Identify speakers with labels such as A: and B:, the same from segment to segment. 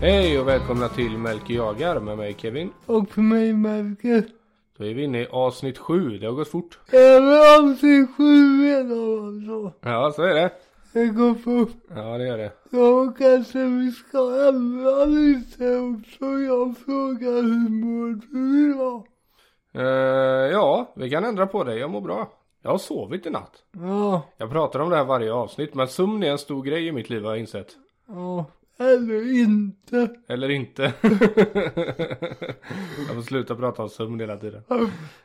A: Hej och välkomna till Melker jagar med mig Kevin.
B: Och för mig Melker.
A: Då är vi inne i avsnitt 7, det har gått fort.
B: Även om till sju redan alltså.
A: Ja, så är det.
B: Det går fort.
A: Ja, det gör det.
B: Ja, kanske vi ska ändra lite också. Jag frågar hur mår du idag?
A: Eh, ja, vi kan ändra på det. Jag mår bra. Jag har sovit i natt.
B: Ja,
A: Jag pratar om det här varje avsnitt, men sömn är en stor grej i mitt liv har jag insett.
B: ja. Eller inte.
A: Eller inte. jag får sluta prata om sömn hela tiden.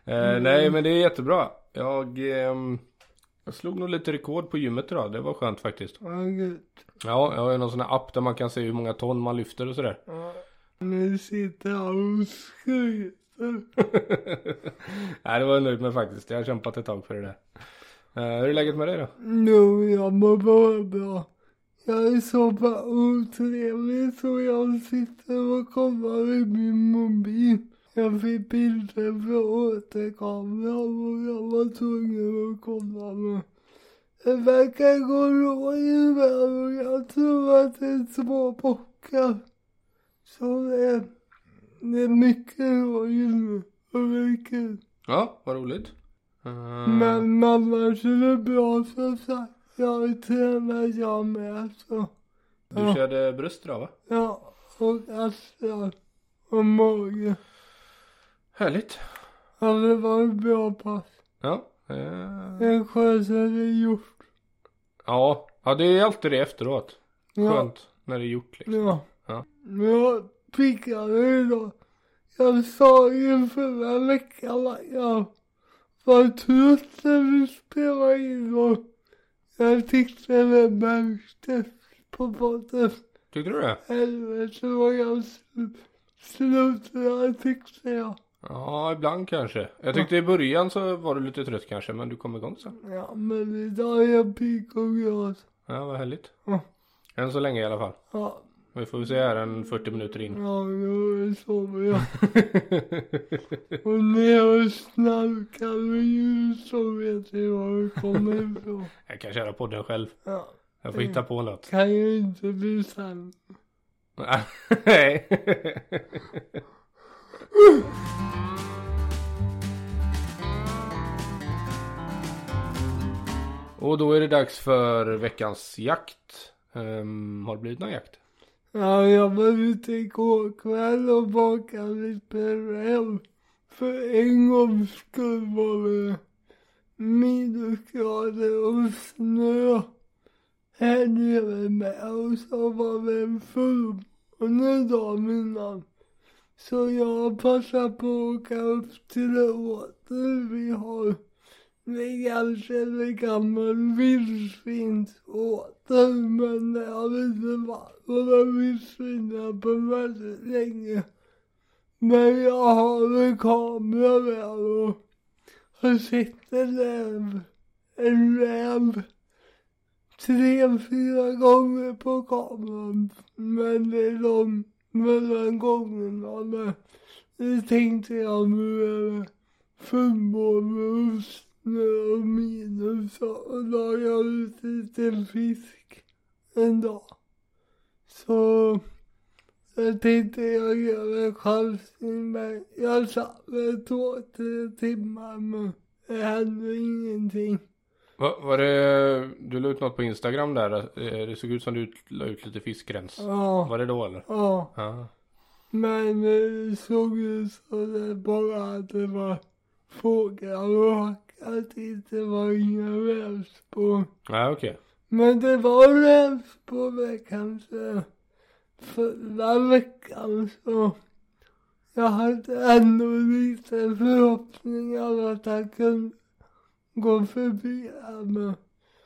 A: Eh, nej, men det är jättebra. Jag, ehm, jag slog nog lite rekord på gymmet idag. Det var skönt faktiskt.
B: Vad gött.
A: Ja, jag har ju någon sån här app där man kan se hur många ton man lyfter och sådär.
B: Ja. Nu sitter jag och skryter.
A: Nej, det var jag nöjd med faktiskt. Jag har kämpat ett tag för det där. Eh, hur är läget med dig då?
B: Nu, jag mår bara bra. Jag är så bara otrevlig så jag sitter och kollar i min mobil. Jag fick bilder från återkameran och jag var tvungen att kolla med. Det verkar gå rådjur här och jag tror att det är små bockar. Så det är, det är mycket rådjur nu. Och det är kul.
A: Ja, vad roligt. Eh,
B: Men mamma körde bra som sagt. Jag tränar jag med så.
A: Du
B: ja.
A: körde bröst idag va?
B: Ja, och axlar och mage.
A: Härligt.
B: Ja, det var ett bra pass.
A: Ja. eh,
B: Det skönaste gjort.
A: ja. Ja, det är alltid det efteråt.
B: Ja,
A: Skönt när det är gjort liksom.
B: ja.
A: Ja.
B: Men jag piggade idag. Jag sa ju förra veckan att jag var trött när vi spelade in och jag tyckte det märktes på podden.
A: Tyckte du det?
B: Helvete vad jag sl- slutade tyckte jag.
A: Ja, ibland kanske. Jag tyckte i början så var du lite trött kanske, men du kom igång sen.
B: Ja men idag är jag pigg och glad.
A: Ja, vad härligt.
B: Ja.
A: Än så länge i alla fall.
B: Ja,
A: Vi får väl se här en 40 minuter in.
B: ja nu sover jag. Och när jag snarkar med ljud så vet jag var det kommer ifrån.
A: jag kan köra podden själv.
B: Ja,
A: Jag får hitta på något.
B: kan ju inte bli sämre.
A: Nej. Och då är det dags för veckans jakt. Ehm, har det blivit någon jakt?
B: Ja, jag var ute igår kväll och bakade lite räv. För en gångs skull var det minusgrader och snö här nere med. Och så var det en fullmåne dagen innan. Så jag passade på att åka upp till det åter vi har. Det kanske är en gammal vildsvinsåter men det har inte varit några vildsvinar på väldigt länge. Men jag har en kamera med och har sett en räv, en räv tre, fyra gånger på kameran. Men det är de mellan gångerna med. Nu tänkte jag nu är det förmåner och snö och minus och laga ut lite fisk en dag. Så jag tänkte jag gör en chansning men jag satt väl två, tre timmar men det hände ingenting.
A: Va, var det, du la ut något på Instagram där. eh, Det såg ut som du ut- la ut lite fiskrens.
B: Ja,
A: Var det då eller?
B: ja.
A: Ja.
B: Men det såg ut som det bara att det var fåglar och hack, att det inte var inga rälsspår.
A: Ja, okej.
B: Men det var rälsspår kanske förra veckan så jag hade ändå lite förhoppningar att han kunde gå förbi här men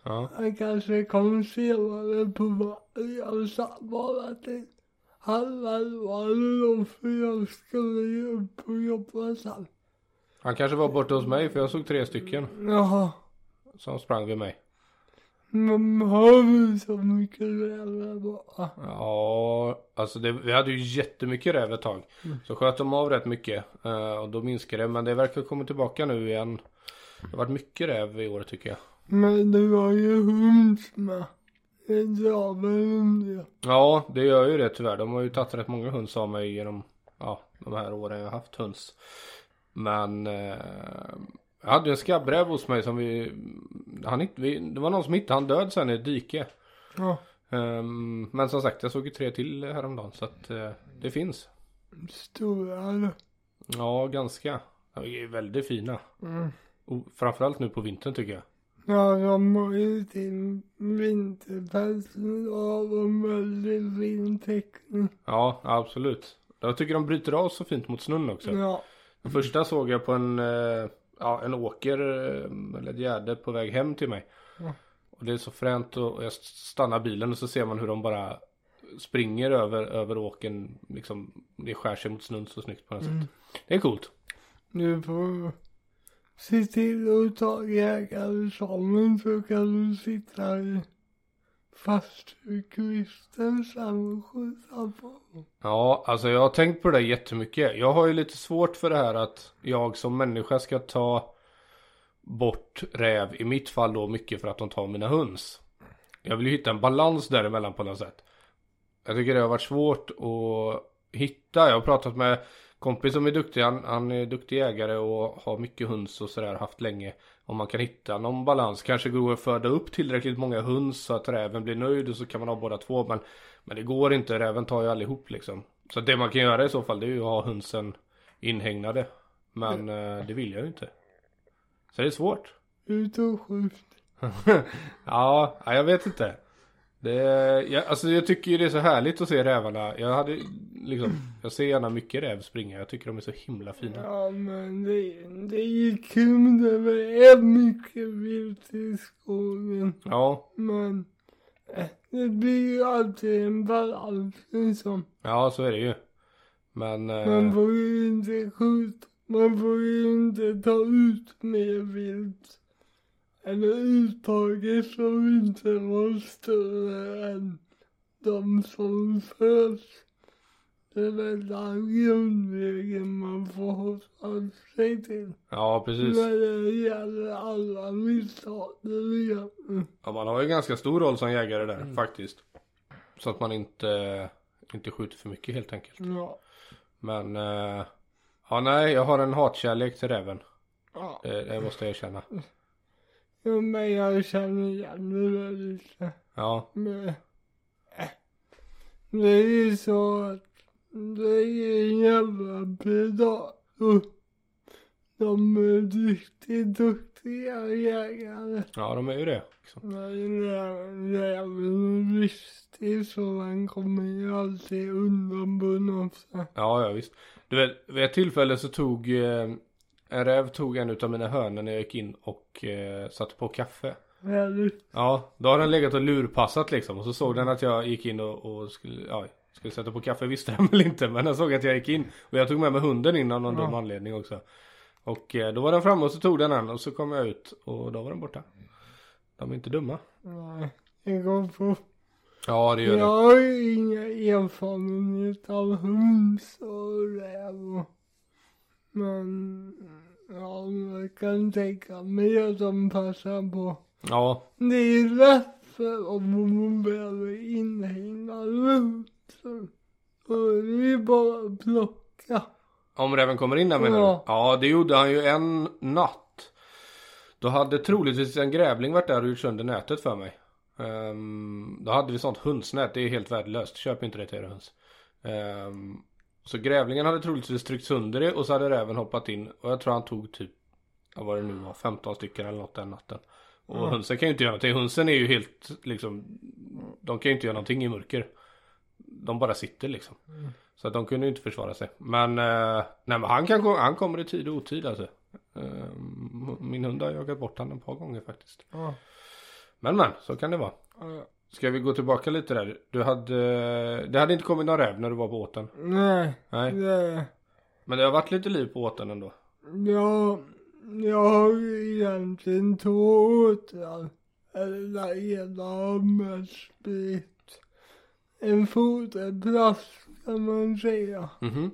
A: Ja.
B: han kanske kom senare på vattnet. Jag sa bara till han var då för jag skulle ju upp och jobba sen.
A: Han kanske var borta hos mig för jag såg tre stycken
B: Jaha.
A: som sprang vid mig.
B: Men har vi så mycket rävar bara?
A: Ja, alltså det, vi hade ju jättemycket räv ett tag. Så sköt de av rätt mycket eh, och då minskade det. Men det verkar komma tillbaka nu igen. Det har varit mycket räv i år tycker jag.
B: Men det var ju hund med. en dravel hund.
A: Ja, det gör ju det tyvärr. De har ju tagit rätt många höns av mig genom ja, de här åren jag har haft höns. Men eh, jag hade ju en skabbräv hos mig som vi, han, hitt- vi... Det var någon som hittade han död sen i ett dike.
B: Ja,
A: Ehm, men som sagt, jag såg ju tre till häromdagen så att eh, det finns.
B: stora. då.
A: Ja, ganska. De är väldigt fina.
B: Mm.
A: Och framförallt nu på vintern tycker jag.
B: Ja, de har ju sin vinterpersonal och en väldigt fin teckning.
A: Ja, absolut. Jag tycker de bryter av så fint mot snön också.
B: Ja,
A: Den första såg jag på en, eh, ja, en åker eh, eller ett gärde på väg hem till mig.
B: Ja.
A: Och det är så fränt och och jag stannar bilen och så ser man hur de bara springer över, över åken. Liksom, det skär sig mot snön så snyggt på något
B: Mm.
A: sätt. Det är coolt.
B: du får se till att ta jägarexamen så kan du sitta i fastukvisten sen och skjuta på.
A: Ja, alltså jag har tänkt på det där jättemycket. Jag har ju lite svårt för det här att jag som människa ska ta bort räv. I mitt fall då mycket för att de tar mina höns. Jag vill ju hitta en balans däremellan på något sätt. Jag tycker det har varit svårt att hitta. Jag har pratat med kompis som är duktig. Han, han är duktig jägare och har mycket höns och sådär haft länge. Om man kan hitta någon balans. Kanske går att föda upp tillräckligt många höns så att räven blir nöjd och så kan man ha båda två. Men men det går inte, räven tar ju allihop liksom. Så det man kan göra i så fall det är ju att ha hönsen inhägnade. Men eh, det vill jag ju inte. Så det är svårt.
B: Ut och skjut.
A: ja, ja, jag vet inte. Det, jag, alltså jag tycker ju det är så härligt att se rävarna. Jag hade liksom, jag ser gärna mycket räv springa. Jag tycker de är så himla fina.
B: Ja, men det, det är kul när det är mycket vilt i skogen.
A: Ja,
B: Men eh, det blir ju alltid en balans liksom.
A: ja så är det ju. Men, eh,
B: Man får ju inte skjuta, man får ju inte ta ut mer vilt. Eller uttaget som inte var större än de som föds. Det är väl den grundregeln man får hålla sig till.
A: ja precis.
B: När det gäller alla misstag du gör.
A: Ja, man har ju ganska stor roll som jägare där faktiskt. Så att man inte, inte skjuter för mycket helt enkelt.
B: Ja.
A: Men, eh, ja nej, jag har en hatkärlek till räven.
B: ja.
A: Det, det måste jag erkänna.
B: Jo, men jag känner igen det där lite.
A: Ja,
B: Men, eh, det är ju så att det är en jävla predator. De är riktigt duktiga jägare.
A: ja de är ju det. Liksom.
B: Men när räven är listig så han kommer ju alltid undan på något sätt.
A: Ja, ja visst. Du vet, vid ett tillfälle så tog eh, en räv tog en utav mina hönor när jag gick in och eh, satte på kaffe.
B: Väldigt.
A: Ja, då har den legat och lurpassat liksom. Och så såg den att jag gick in och, och skulle, ja, skulle sätta på kaffe. Visste den väl inte. Men den såg att jag gick in. Och jag tog med mig hunden in av någon
B: Ja.
A: dum anledning också. Och eh, då var den framme och så tog den den. Och så kom jag ut och då var den borta. De är inte dumma.
B: Nej, det går på.
A: Ja, det gör
B: Jag
A: det.
B: har ju inga erfarenhet av höns och räv och... Men... Ja, jag kan tänka mig att de passar på.
A: Ja,
B: Det är lätt för dem att behöva inhägna rötter. Och det är bara att plocka.
A: Om räven kommer in där menar
B: Ja.
A: du? Ja, det gjorde han ju en natt. Då hade troligtvis en grävling varit där och gjort sönder nätet för mig. Ehm, då hade vi sånt hönsnät, det är helt värdelöst. Köp inte det till era höns. Ehm, så grävlingen hade troligtvis tryckt sönder det och så hade räven hoppat in. Och jag tror han tog typ, ja, vad det nu var, 15 stycken eller något den natten. Och
B: Ja.
A: hönsen kan ju inte göra någonting. Hönsen är ju helt liksom, de kan ju inte göra någonting i mörker. De bara sitter liksom. Så att de kunde ju inte försvara sig. Men, eh, nej, men han, kan gå, han kommer i tid och otid alltså. Eh, m- min hund har jagat bort honom ett par gånger faktiskt.
B: Ja.
A: Men men, så kan det vara.
B: ja.
A: Ska vi gå tillbaka lite där? Du hade, eh, det hade inte kommit någon räv när du var på åten.
B: Nej,
A: Nej.
B: det...
A: Men det har varit lite liv på åten ändå.
B: Ja, jag har ju egentligen två åtrar. Eller där ena har mest blivit en foderplats kan man säga.
A: Mhm.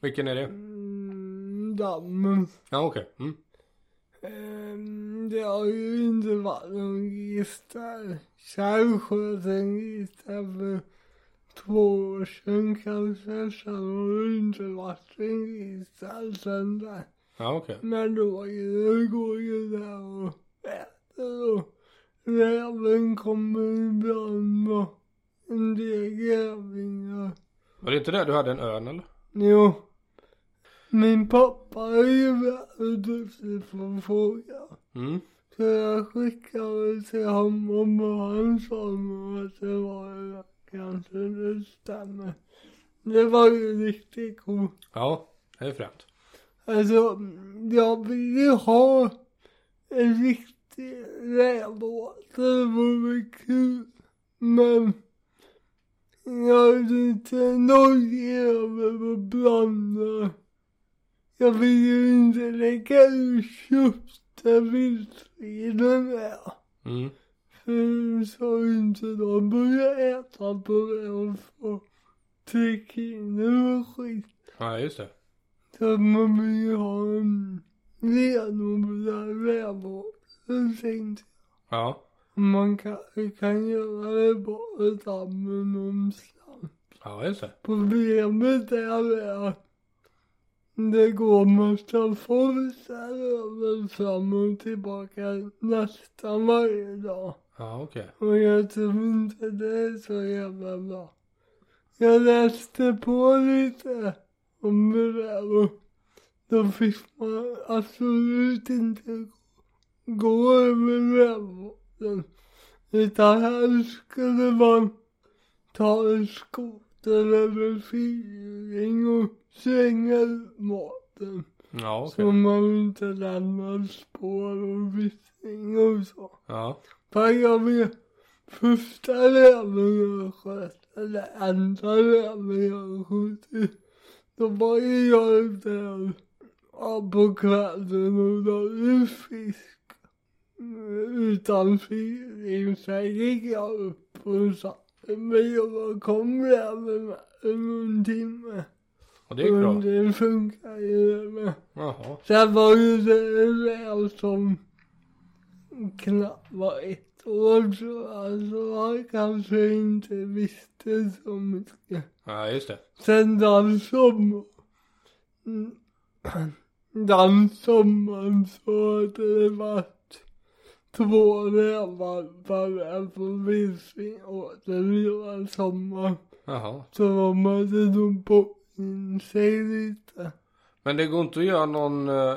A: Vilken är det?
B: Mm, dammen.
A: Ja okej. Mm.
B: Ehm, det har ju inte varit någon gitarr. Själv sköt en gitarr för två år sedan kanske. Sen har det inte varit en gitarr sen där.
A: Ja, okej.
B: Men då är det- går ju där och äter och räven kommer ibland och en del grävlingar.
A: Var det inte där du hade en örn eller?
B: Jo. Min pappa är ju väldigt duktig på att fråga.
A: Mm.
B: Så jag skickade till honom och han sa nog att det var det. kanske det stämmer. Det var ju riktigt coolt.
A: Ja, det är fränt.
B: Alltså, jag vill ju ha en riktig rävåt. Det vore kul. Men jag är lite nojig över att blanda. Jag vill ju inte lägga ut kött där vildsvinen är.
A: Mm.
B: För så inte de börjar äta på det och få trikiner och skit.
A: Ja, just det.
B: Så att man vill ju ha en renodlad rävvård. Så tänkte
A: Ja.
B: jag, man kan, vi kan göra det bara dammen någonstans.
A: Ja, just det.
B: Problemet är att det går massa folk där över fram och tillbaka nästan varje dag.
A: Ja, okej.
B: Och jag tror inte det är så jävla bra. Jag läste på lite om det där och då fick man absolut inte gå över vägbanan. Utan här skulle man ta en skoter eller fyrhjuling och slänga ut maten.
A: Ja, okej.
B: Så man inte lämnar spår och vittring och så.
A: Ja.
B: Fan jag vill första räven jag sköt, eller andra räven jag skjutit. Då var ju jag ute där ja, på kvällen och la ut fisk. Utan fyring, sen gick jag upp och satte mig och då kom räven med någon timme.
A: Och det gick bra.
B: Men det funkar ju det med.
A: Jaha.
B: Sen var ju det en räv som knappt var ett år så alltså han kanske inte visste så mycket.
A: Ja, just det.
B: Sen den sommaren, den sommaren så hade det varit två rävar bara på vildsvin och den lilla sommaren.
A: Jaha.
B: Så de hade nog bott in sig lite.
A: Men det går inte att göra någon, eh,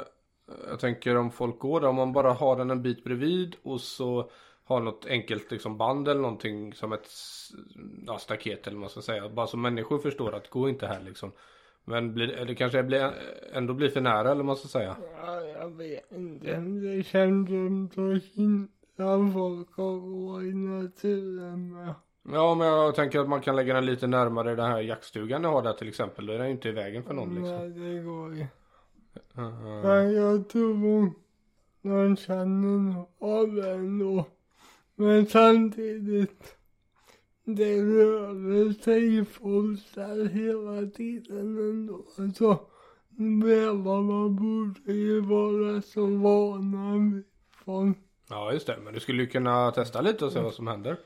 A: jag tänker om folk går där, om man bara har den en bit bredvid och så har något enkelt liksom band eller någonting som ett s- ja, staket eller vad man ska säga. Bara så människor förstår att gå inte här liksom. Men blir, eller kanske blir, ändå blir för nära eller vad man ska säga.
B: Ja, jag vet inte. Det känns som att hindra folk att gå i naturen med.
A: Ja men jag tänker att man kan lägga den lite närmare den här jaktstugan ni har där till exempel. Då är den ju inte i vägen för någon liksom.
B: Nej, det går ju.
A: Mm, mm.
B: Men jag tror hon, hon känner nog av det ändå. Men samtidigt, det rör sig folk där hela tiden ändå. Alltså, Så rävarna borde ju vara så vana vid folk.
A: Ja just det, men du skulle ju kunna testa lite och se vad som händer.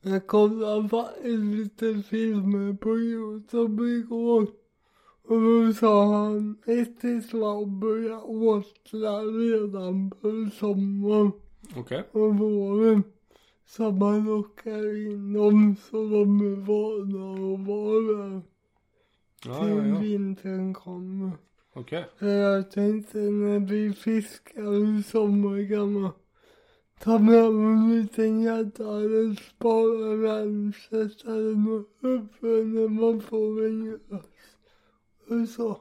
B: Jag kollade faktiskt lite filmer på Youtube igår. Och då sa han ett islam börjar åtla redan på sommaren
A: Okej.
B: och våren. Så man lockar in dem så de är vana att vara där
A: Ja,
B: till
A: ja, ja.
B: vintern kommer.
A: Okej.
B: Så jag tänkte när vi fiskar i sommar kan man ta med en liten gädda eller spara den, sätta den uppe när man får en gös. Och så.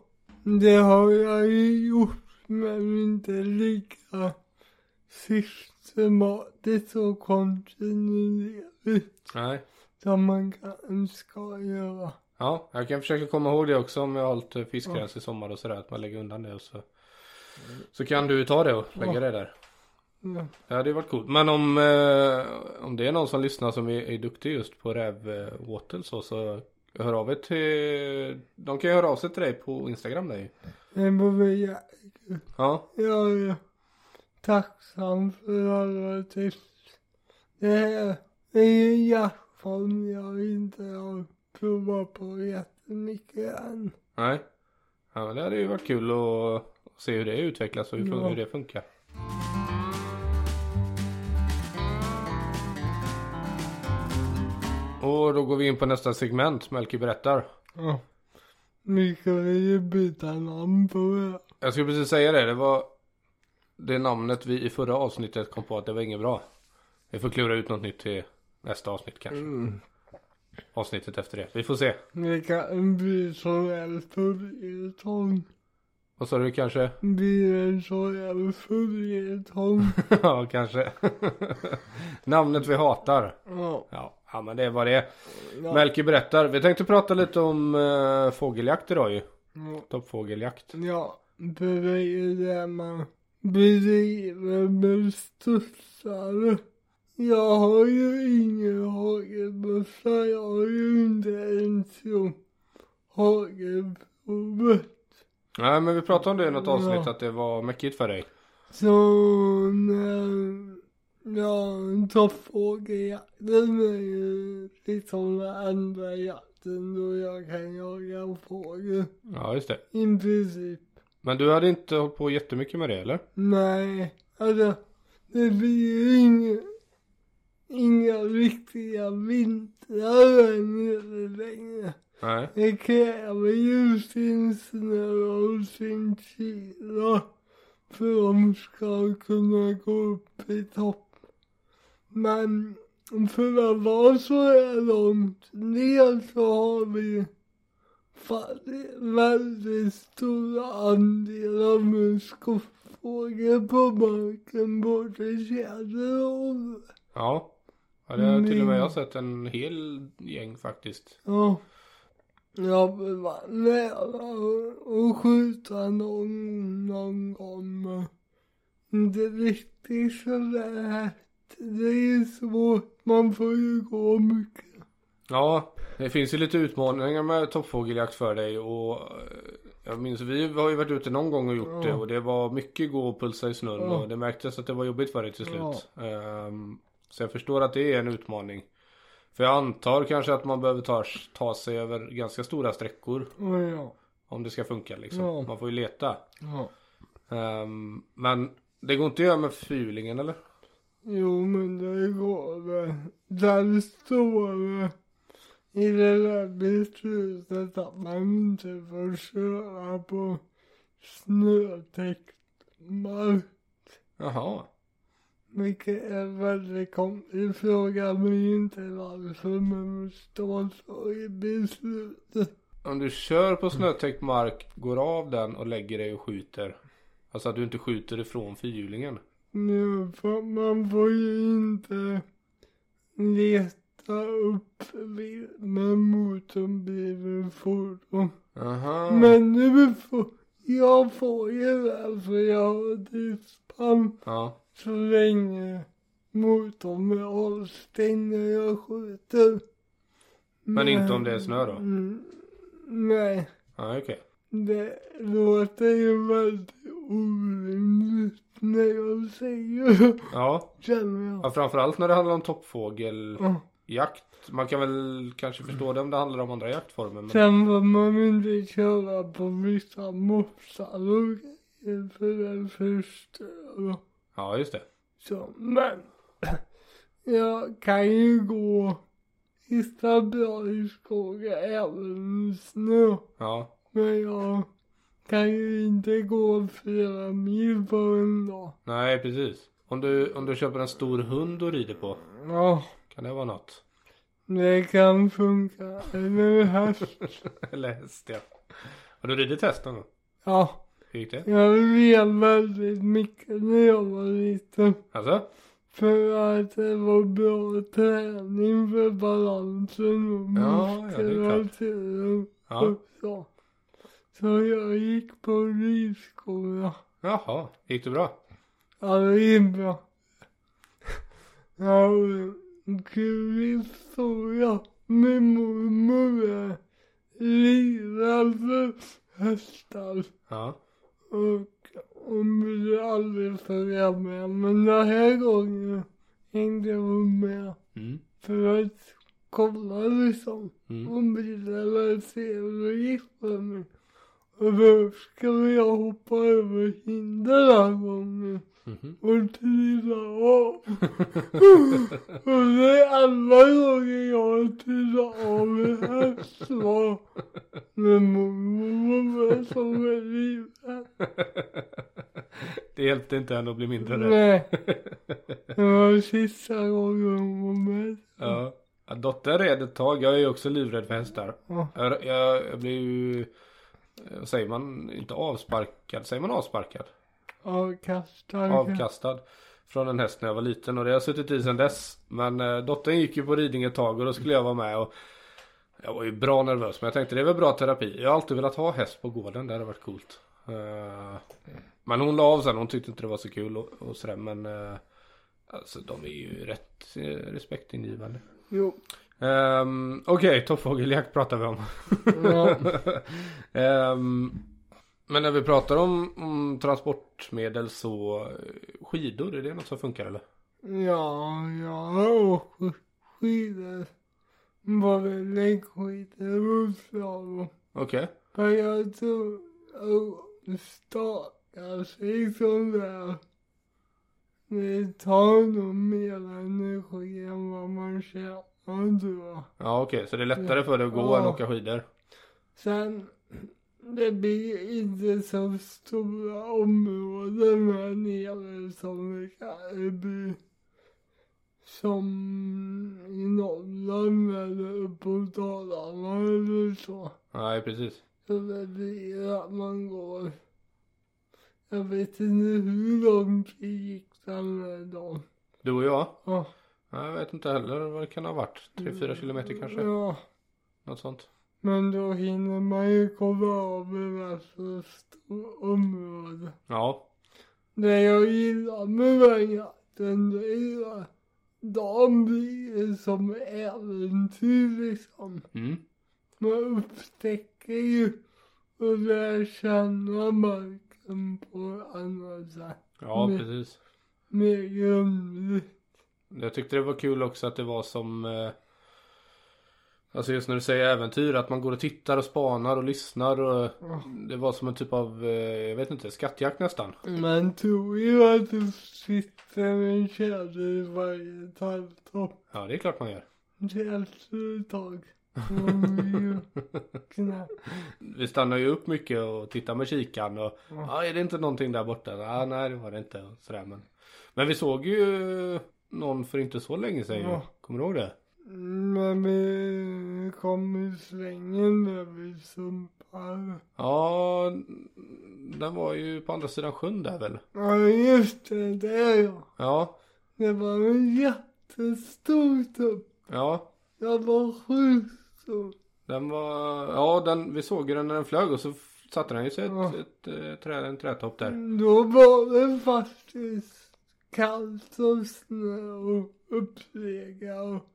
B: Det har jag ju gjort men inte lika systematiskt och kontinuerligt
A: Nej.
B: som man kan ska göra.
A: Ja, jag kan försöka komma ihåg det också om jag har hållit eh, fiskgräns i sommar och sådär. Att man lägger undan det och så. Så kan du ta det och lägga
B: Ja.
A: det där.
B: Ja.
A: Det hade ju varit coolt. Men om, eh, om det är någon som lyssnar som är, är duktig just på rävåtel så, så hör av er till... De kan ju höra av sig till dig på Instagram där ju.
B: Det var väl jäkligt.
A: Ja,
B: Ja, ja. tacksam för alla tips. Det här är ju en jaktform jag inte har provat på jättemycket än.
A: Nej. Ja, men det hade ju varit kul att se hur det utvecklas och hur,
B: Ja.
A: hur det funkar. Och då går vi in på nästa segment, Melker berättar.
B: Ja. Vi kan ju byta namn på det.
A: Jag skulle precis säga det, det var det namnet vi i förra avsnittet kom på att det var inget bra. Vi får klura ut något nytt till nästa avsnitt kanske.
B: Mm.
A: Avsnittet efter det. Vi får se.
B: Det kan bli så jävla följetong.
A: Vad sa du kanske?
B: Blir en så jävla följetong.
A: ja, kanske. Namnet vi hatar.
B: Ja.
A: Ja, ja men det är vad det är.
B: ja.
A: Melker berättar. Vi tänkte prata lite om eh, fågeljakt idag ju.
B: ja.
A: Toppfågeljakt.
B: Ja, för det är ju det man bedriver med studsare. Jag har ju ingen hagelbössa, jag har ju inte ens gjort hagelprovet.
A: Nej, men vi pratade om det i något avsnitt
B: Ja.
A: att det var mäckigt för dig.
B: Så när jag tar fågeljakten är ju liksom den andra jakten då jag kan jaga fågel.
A: Ja, just det.
B: I princip.
A: Men du hade inte hållit på jättemycket med det eller?
B: Nej, alltså det blir ju inga, inga riktiga vintrar här nere längre.
A: Nej.
B: Det kräver ju sin snö och sin kyla för de ska kunna gå upp i topp. Men för att vara så här långt ner så har vi fallit väldigt stora andelar med skottfågel på marken både tjäder och...
A: Ja. ja det har till och med
B: Men-
A: jag sett en hel gäng faktiskt.
B: Ja. Jag var nära att skjuta någon, någon gång. men Inte riktigt sådär lätt. Det är ju svårt. Man får ju gå mycket.
A: Ja, det finns ju lite utmaningar med toppfågeljakt för dig och eh, jag minns vi har ju varit ute någon gång och gjort
B: Ja.
A: det och det var mycket gå och pulsa i snön
B: Ja.
A: och det märktes att det var jobbigt för dig till
B: Ja.
A: slut. Ehm, så jag förstår att det är en utmaning. För jag antar kanske att man behöver ta, ta sig över ganska stora sträckor
B: Ja, Oh ja.
A: om det ska funka liksom.
B: Ja.
A: Man får ju leta.
B: ja.
A: Ehm, men det går inte att göra med fyrlingen eller?
B: Jo, men det går väl. Där står det i det där beslutet att man inte får köra på snötäckt mark.
A: Jaha.
B: Vilket är en väldigt konstig fråga, men inte varför men står så i beslutet.
A: Om du kör på snötäckt mark, går av den och lägger dig och skjuter. Alltså att du inte skjuter ifrån fyrhjulingen.
B: Nu, för man får ju inte leta upp vilt med motordrivet fordon.
A: Aha.
B: Men nu får jag får ju det, för jag har dispens
A: Ja.
B: så länge motorn är avstängd när jag skjuter.
A: Men inte om det är snö då?
B: Mm, nej.
A: Ja, okej.
B: Det låter ju väldigt orimligt när jag säger det,
A: Ja.
B: känner jag.
A: ja, framförallt när det handlar om toppfågeljakt.
B: Ja.
A: Man kan väl kanske förstå det om det handlar om andra jaktformer. Men...
B: Sen får man inte köra på vissa mopsar och grejer för den förstör.
A: Ja, just det.
B: Så, men jag kan ju gå hitta bra i skogen även i snö.
A: Ja.
B: Men jag kan ju inte gå fyra mil på en dag.
A: Nej, precis. Om du, om du köper en stor hund och rider på,
B: Ja,
A: kan det vara något?
B: det kan funka. Eller häst.
A: Eller häst, ja. Har du ridit häst någon gång?
B: Ja,
A: Hur gick det?
B: jag red väldigt mycket när jag var liten.
A: Alltså?
B: För att det var bra träning för balansen och
A: Ja, ja, det är klart.
B: muskulaturen.
A: Ja.
B: och så. Så jag gick på ridskola.
A: Jaha. Gick det bra?
B: Ja, det gick bra. Jag har en kul historia. Min mormor är livrädd för hästar.
A: Ja.
B: Och hon ville aldrig följa med. Men den här gången hängde hon med.
A: Mm.
B: För att kolla liksom.
A: Mm.
B: Hon ville väl se hur det gick för mig. Och då skulle jag hoppa över hinder den här gången.
A: Mhm.
B: Och trilla av. och det är andra gången jag har trillat av en häst var när mormor var med som är livet.
A: Det hjälpte inte henne att bli mindre rädd.
B: Nej. Det var sista gången hon var med.
A: Ja. Ja, dotter är rädd ett tag. Jag är ju också livrädd för hästar.
B: Ja.
A: Jag, jag, jag blir ju... eh, Säger man inte avsparkad? Säger man avsparkad?
B: Avkastad.
A: Avkastad. Från en häst när jag var liten och det har jag suttit i sedan dess. Men eh, dottern gick ju på ridning ett tag och då skulle jag vara med och jag var ju bra nervös men jag tänkte det är väl bra terapi. Jag har alltid velat ha häst på gården, det hade varit coolt. Eh, men hon la av sen, hon tyckte inte det var så kul och, och sådär men eh, alltså de är ju rätt eh, respektingivande.
B: Jo.
A: Um, Okej, toppfågeljakt pratar vi om.
B: Ja.
A: Ehm, men när vi pratar om, om transportmedel så eh, skidor, är det något som funkar eller?
B: Ja, oh, jag har åkt skidor. Både längdskidor och slalom.
A: Okej.
B: Men jag tror att stakar sig sådär. Det tar nog mer energi än vad man känner tror jag.
A: Ja okej, så det är lättare för dig att gå
B: Ja.
A: än åka skidor?
B: Sen, det blir inte så stora områden här nere som det kanske blir som i Norrland eller uppåt Dalarna eller så.
A: Nej precis.
B: Så det blir att man går. Jag vet inte hur långt vi gick den här dagen.
A: Du och jag?
B: Ja.
A: Nej, jag vet inte heller vad det kan ha varit. 3-4 kilometer kanske?
B: Ja.
A: Något sånt.
B: Men då hinner man ju komma av en rätt stor område.
A: Ja.
B: Det jag gillar med den jakten det är ju att de blir som äventyr liksom.
A: Mm.
B: Man upptäcker ju och lär känna marken på ett annat sätt.
A: Ja
B: Mm.
A: precis.
B: Mer grundligt.
A: Jag tyckte det var kul också att det var som eh, Alltså just när du säger äventyr att man går och tittar och spanar och lyssnar och
B: Ja.
A: Det var som en typ av, eh, jag vet inte, skattjakt nästan.
B: Man tror ju att det sitter en tjäder i varje talltopp.
A: Ja det är klart man gör.
B: Det är efter ett tag. Man blir ju knäpp.
A: Vi stannar ju upp mycket och tittar med kikan och ja
B: Ja.
A: är det inte någonting där borta? Ja, nej det var det inte. Och Sådär, men. men vi såg ju någon för inte så länge sedan ju.
B: Ja.
A: Kommer du ihåg det?
B: Men vi kom i svängen när vi sumpade.
A: Ja, den var ju på andra sidan sjön där väl?
B: Ja just det, det är jag.
A: Ja,
B: Det var en jättestor tupp.
A: ja.
B: Jag var sjukt stor.
A: Den var, ja den, vi såg ju den när den flög och så f- satte den ju sig ett,
B: Ja.
A: ett, eh, trä, en trätopp där.
B: Då var det faktiskt kallt som snö och uppsega och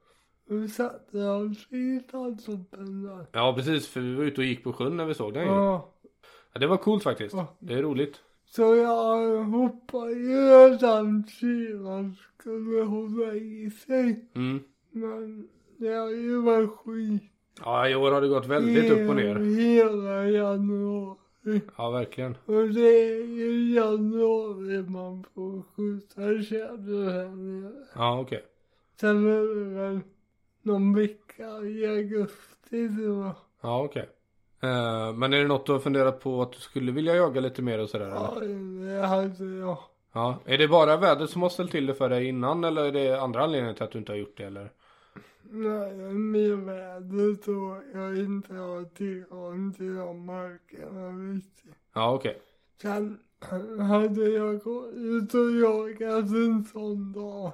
B: och satte jag sista tuppen där.
A: Ja precis, för vi var ute och gick på sjön när vi såg den ju.
B: Ja.
A: Ja, det var coolt faktiskt.
B: Ja.
A: Det är roligt.
B: Så jag hoppade ju att den kylan skulle hålla i sig.
A: Mm.
B: Men det har ju varit skit.
A: Ja, i år har det gått väldigt upp och ner.
B: Hela januari.
A: Ja, verkligen.
B: Och det är ju januari man får skjuta tjäder här nere.
A: Ja, okej.
B: Sen är det väl någon vecka i augusti tror jag.
A: Ja, okej. Eh, men är det något du har funderat på att du skulle vilja jaga lite mer och sådär eller?
B: Ja, det hade jag.
A: Ja. Är det bara vädret som har ställt till det för dig innan eller är det andra anledningar till att du inte har gjort det eller?
B: Nej, med vädret och jag inte har tillgång till de markerna riktigt.
A: Ja, okej.
B: Sen hade jag gått ut och jagat en sån dag.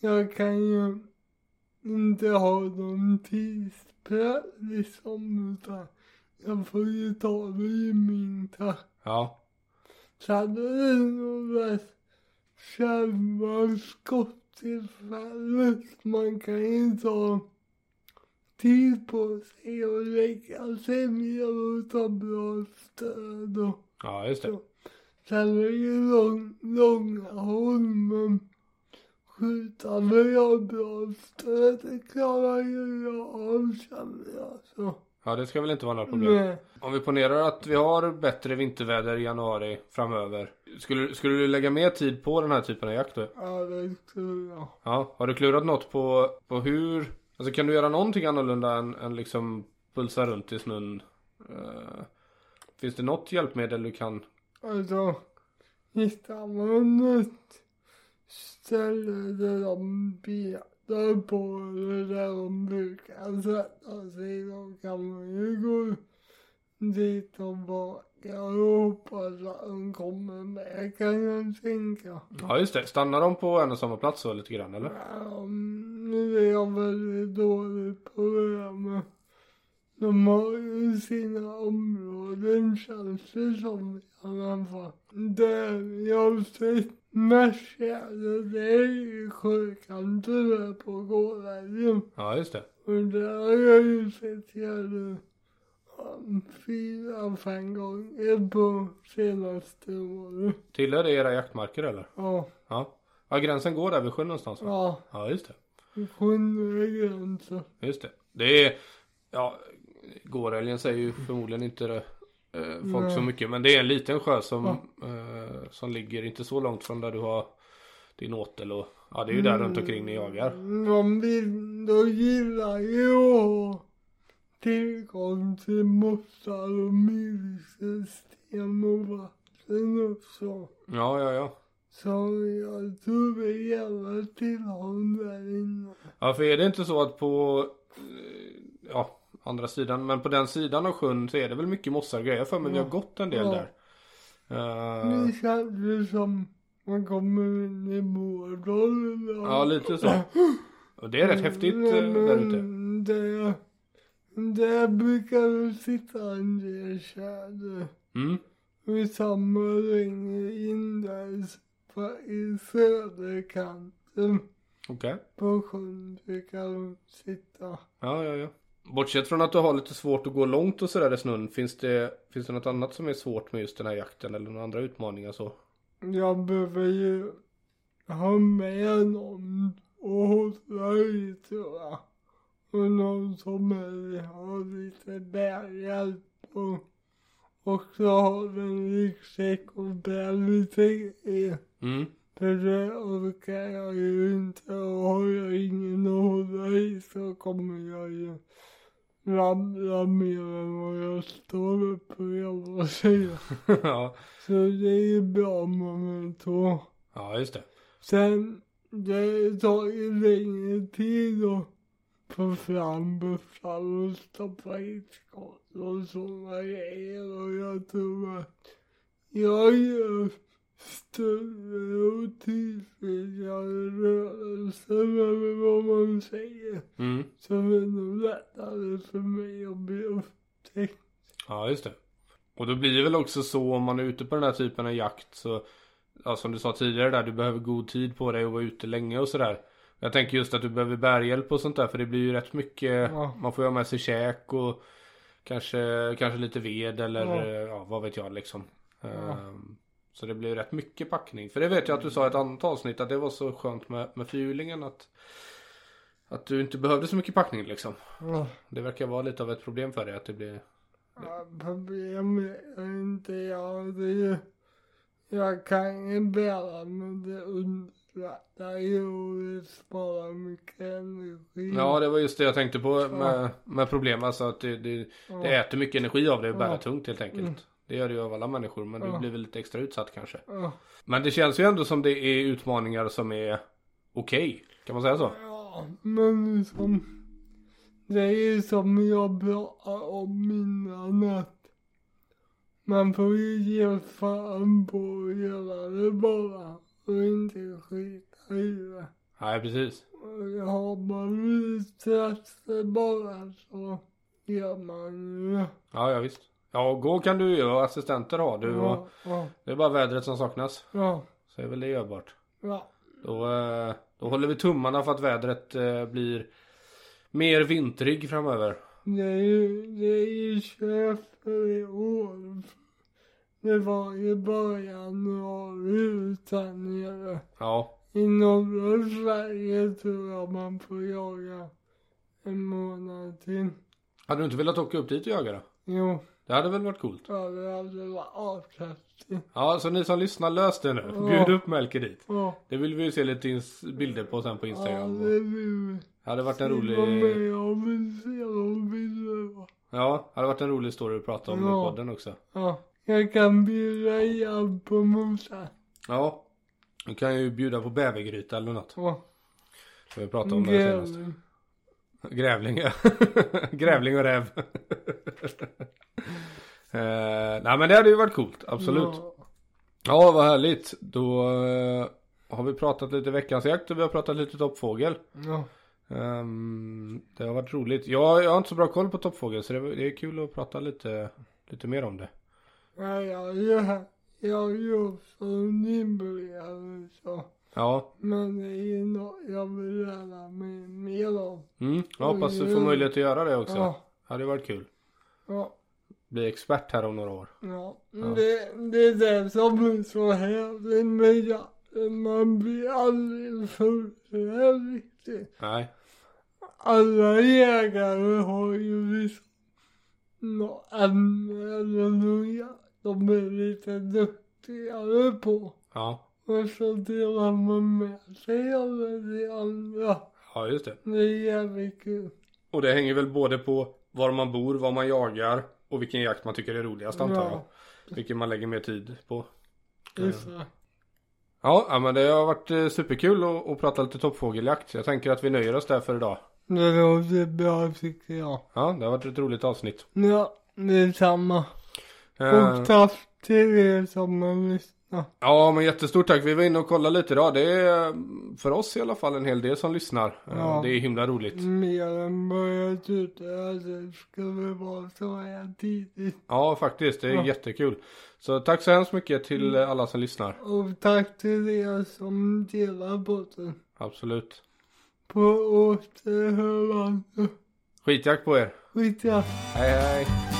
B: Jag kan ju inte ha någon tidspress liksom utan jag får ju ta det i min takt.
A: Ja.
B: Så hade det nog varit själva skottillfället. Man kan ju inte ha tid på sig och lägga sämjor och ta bra stöd och
A: Ja, just det.
B: Ja. sen är det lång, långa Holmen. Skjuta med jag bra stöd, det klarar ju jag av känner jag så.
A: Ja, det ska väl inte vara några problem.
B: Nej.
A: Om vi ponerar att vi har bättre vinterväder i januari framöver. Skulle, skulle du lägga mer tid på den här typen av jakt då?
B: Ja, det tror jag.
A: Ja, har du klurat något på, på hur? Alltså kan du göra någonting annorlunda än, än liksom pulsa runt i snön? Eh, finns det något hjälpmedel du kan?
B: Alltså, hittar man ett ställe där de betar på eller där de brukar sätta sig då kan man ju gå dit och baka och hoppas att de kommer med kan jag tänka.
A: Ja just det, stannar de på en och samma plats så lite grann eller?
B: Um, nu är jag väldigt dålig på det här med de har ju sina områden känns det som i alla fall. Det jag har sett mest tjäder det är ju sjökan tyvärr på gårdagen.
A: Ja just det.
B: Och där har jag ju sett tjäder um, fyra, fem gånger på senaste året.
A: Tillhör det era jaktmarker eller?
B: Ja,
A: Ja. Ja gränsen går där vid sjön någonstans va?
B: ja,
A: Ja just det.
B: sjunde gränsen.
A: Just det. Det är, ja, Gårälgen säger ju förmodligen inte det, eh, folk så
B: Nej.
A: mycket. Men det är en liten sjö som, eh, som ligger inte så långt från där du har din åtel och ja, det är ju
B: Mm.
A: där runt omkring ni jagar.
B: De vill, de gillar ju att ha tillgång till mossar och myrsystem och vatten och så.
A: Ja, ja, ja.
B: Så jag tror vi gärna till honom där inne.
A: Ja, för är det inte så att på, eh, ja, andra sidan, men på den sidan av sjön så är det väl mycket mossar och grejer för men vi har
B: Ja.
A: gått en del
B: Ja.
A: där. Eh,
B: Det känns ju som man kommer in i Vårdalen.
A: ja, lite så. Och det är
B: Mm,
A: rätt häftigt eh, där ute.
B: Där, där brukar vi sitta en del tjäder.
A: Mm.
B: Vi samlar in där på- i söderkanten
A: Okej.
B: på sjön brukar de sitta.
A: Ja, ja, ja. Bortsett från att du har lite svårt att gå långt och sådär i snön, finns det, finns det något annat som är svårt med just den här jakten eller några andra utmaningar så?
B: Jag behöver ju ha med någon och hålla i tror jag. Och någon som vill ha lite bärhjälp och också ha en ryggsäck och bära lite grejer.
A: Mm.
B: För det orkar jag ju inte och har jag ingen att hålla i så kommer jag ju ramla mer än vad jag står upp och jobbar säga.
A: ja.
B: Så det är ju bra om man vill ta.
A: ja, just det.
B: Sen, det tar ju längre tid att få fram bufflar och stoppa i skott och sådana grejer och jag tror att jag gör större och tydligare rörelser eller vad man säger.
A: Mm.
B: Så det är nog lättare för mig att bli upptäckt.
A: Ja, just det. Och då blir det väl också så om man är ute på den här typen av jakt så, ja, som du sa tidigare där, du behöver god tid på dig och vara ute länge och sådär. Jag tänker just att du behöver bärhjälp och sånt där för det blir ju rätt mycket,
B: Ja.
A: man får ju ha med sig käk och kanske, kanske lite ved eller
B: Ja.
A: eh, ja, vad vet jag liksom.
B: Ja.
A: Ehm, Så det blir ju rätt mycket packning. För det vet jag att du sa i ett annat avsnitt att det var så skönt med, med fyrhjulingen att, att du inte behövde så mycket packning liksom.
B: Ja.
A: Det verkar vara lite av ett problem för dig att det blir
B: Ja, Problemet är inte jag. Det är ju, jag kan ju bära men det underlättar ju och det sparar mycket energi.
A: Ja, det var just det jag tänkte på med, med problem. Alltså att det, det,
B: Ja.
A: det äter mycket energi av dig att bära
B: Ja.
A: tungt helt enkelt.
B: Mm.
A: Det gör det ju av alla människor, men du
B: Ja.
A: blir väl lite extra utsatt kanske.
B: Ja.
A: Men det känns ju ändå som det är utmaningar som är okej. Kan man säga så?
B: Ja, men som, det är ju som jag pratade om innan att man får ju ge fan på att göra det bara och inte skita i det.
A: Nej, precis.
B: Har man intresse bara så gör man ju det.
A: Ja, ja visst. Ja, och gå kan du ju och assistenter har du. Och
B: Ja, ja,
A: det är bara vädret som saknas.
B: ja,
A: Så är väl det görbart.
B: ja.
A: Då, eh, då håller vi tummarna för att vädret eh, blir Mer vintrig framöver.
B: Det är ju, det är ju köper i år. Det var ju bara januari utan er.
A: Ja.
B: I norra Sverige tror jag man får jaga en månad till.
A: Hade du inte velat åka upp dit och jaga då?
B: Jo,
A: Det hade väl varit coolt?
B: ja, det hade varit avkastigt.
A: Ja, så ni som lyssnar lös det nu.
B: Ja.
A: Bjud upp Melker dit.
B: Ja,
A: Det vill vi ju se lite ins- bilder på sen på
B: ja,
A: Instagram.
B: det blir
A: Det hade varit en
B: Jag
A: rolig...
B: med och vill se de bilderna.
A: Ja, det hade varit en rolig story att prata om
B: Ja.
A: i podden också.
B: Ja, jag kan bjuda igen på morsan.
A: Ja. Du kan ju bjuda på bävergryta eller något.
B: Ja,
A: Som vi pratade om det senast.
B: grävling.
A: Grävling ja. Grävling och räv. eh, nej men det hade ju varit coolt, absolut. Ja,
B: Ja,
A: vad härligt. Då eh, har vi pratat lite veckans jakt och vi har pratat lite toppfågel.
B: ja.
A: Ehm, det har varit roligt. Jag, jag har inte så bra koll på toppfågel så det, var- det är kul att prata lite, lite mer om det.
B: Ja, jag gör, jag gör som nybörjare så.
A: Ja,
B: Men det är något jag vill lära mig mer om.
A: mm. jag hoppas du får möjlighet att göra det också. Ja.
B: Ja,
A: Det hade varit kul.
B: ja,
A: Bli expert här om några år.
B: ja.
A: Ja.
B: Det, det är det som är så härligt med jakten. Man blir aldrig fullärd riktigt.
A: Nej,
B: Alla jägare har ju liksom något ämne eller någon jakt de är lite duktigare på.
A: ja,
B: Och så delar man med sig av det andra.
A: ja just det.
B: Det är jävligt kul.
A: Och det hänger väl både på var man bor, vad man jagar och vilken jakt man tycker är roligast antar jag.
B: Ja.
A: Vilken man lägger mer tid på.
B: Issa.
A: Ja, ja, men det har varit eh, superkul att, att prata lite toppfågeljakt. Jag tänker att vi nöjer oss där för idag.
B: Det låter bra tycker jag.
A: Ja, det har varit ett roligt avsnitt.
B: Ja, detsamma.
A: Eh,
B: Och tack till er som har lyssnat.
A: Ja, men jättestort tack. Vi var inne och kollade lite idag. Det är eh, för oss i alla fall en hel del som lyssnar. Eh,
B: Ja. Mm.
A: Det är himla roligt.
B: Mer än vad jag trodde att det skulle vara så här tidigt.
A: Ja, faktiskt. Det är
B: Ja. Mm.
A: jättekul. Så tack så hemskt mycket till eh, alla som lyssnar.
B: Och tack till er som delar på den.
A: Absolut.
B: På återhörande.
A: Skitjakt på er.
B: Skitjakt.
A: Hej, hej.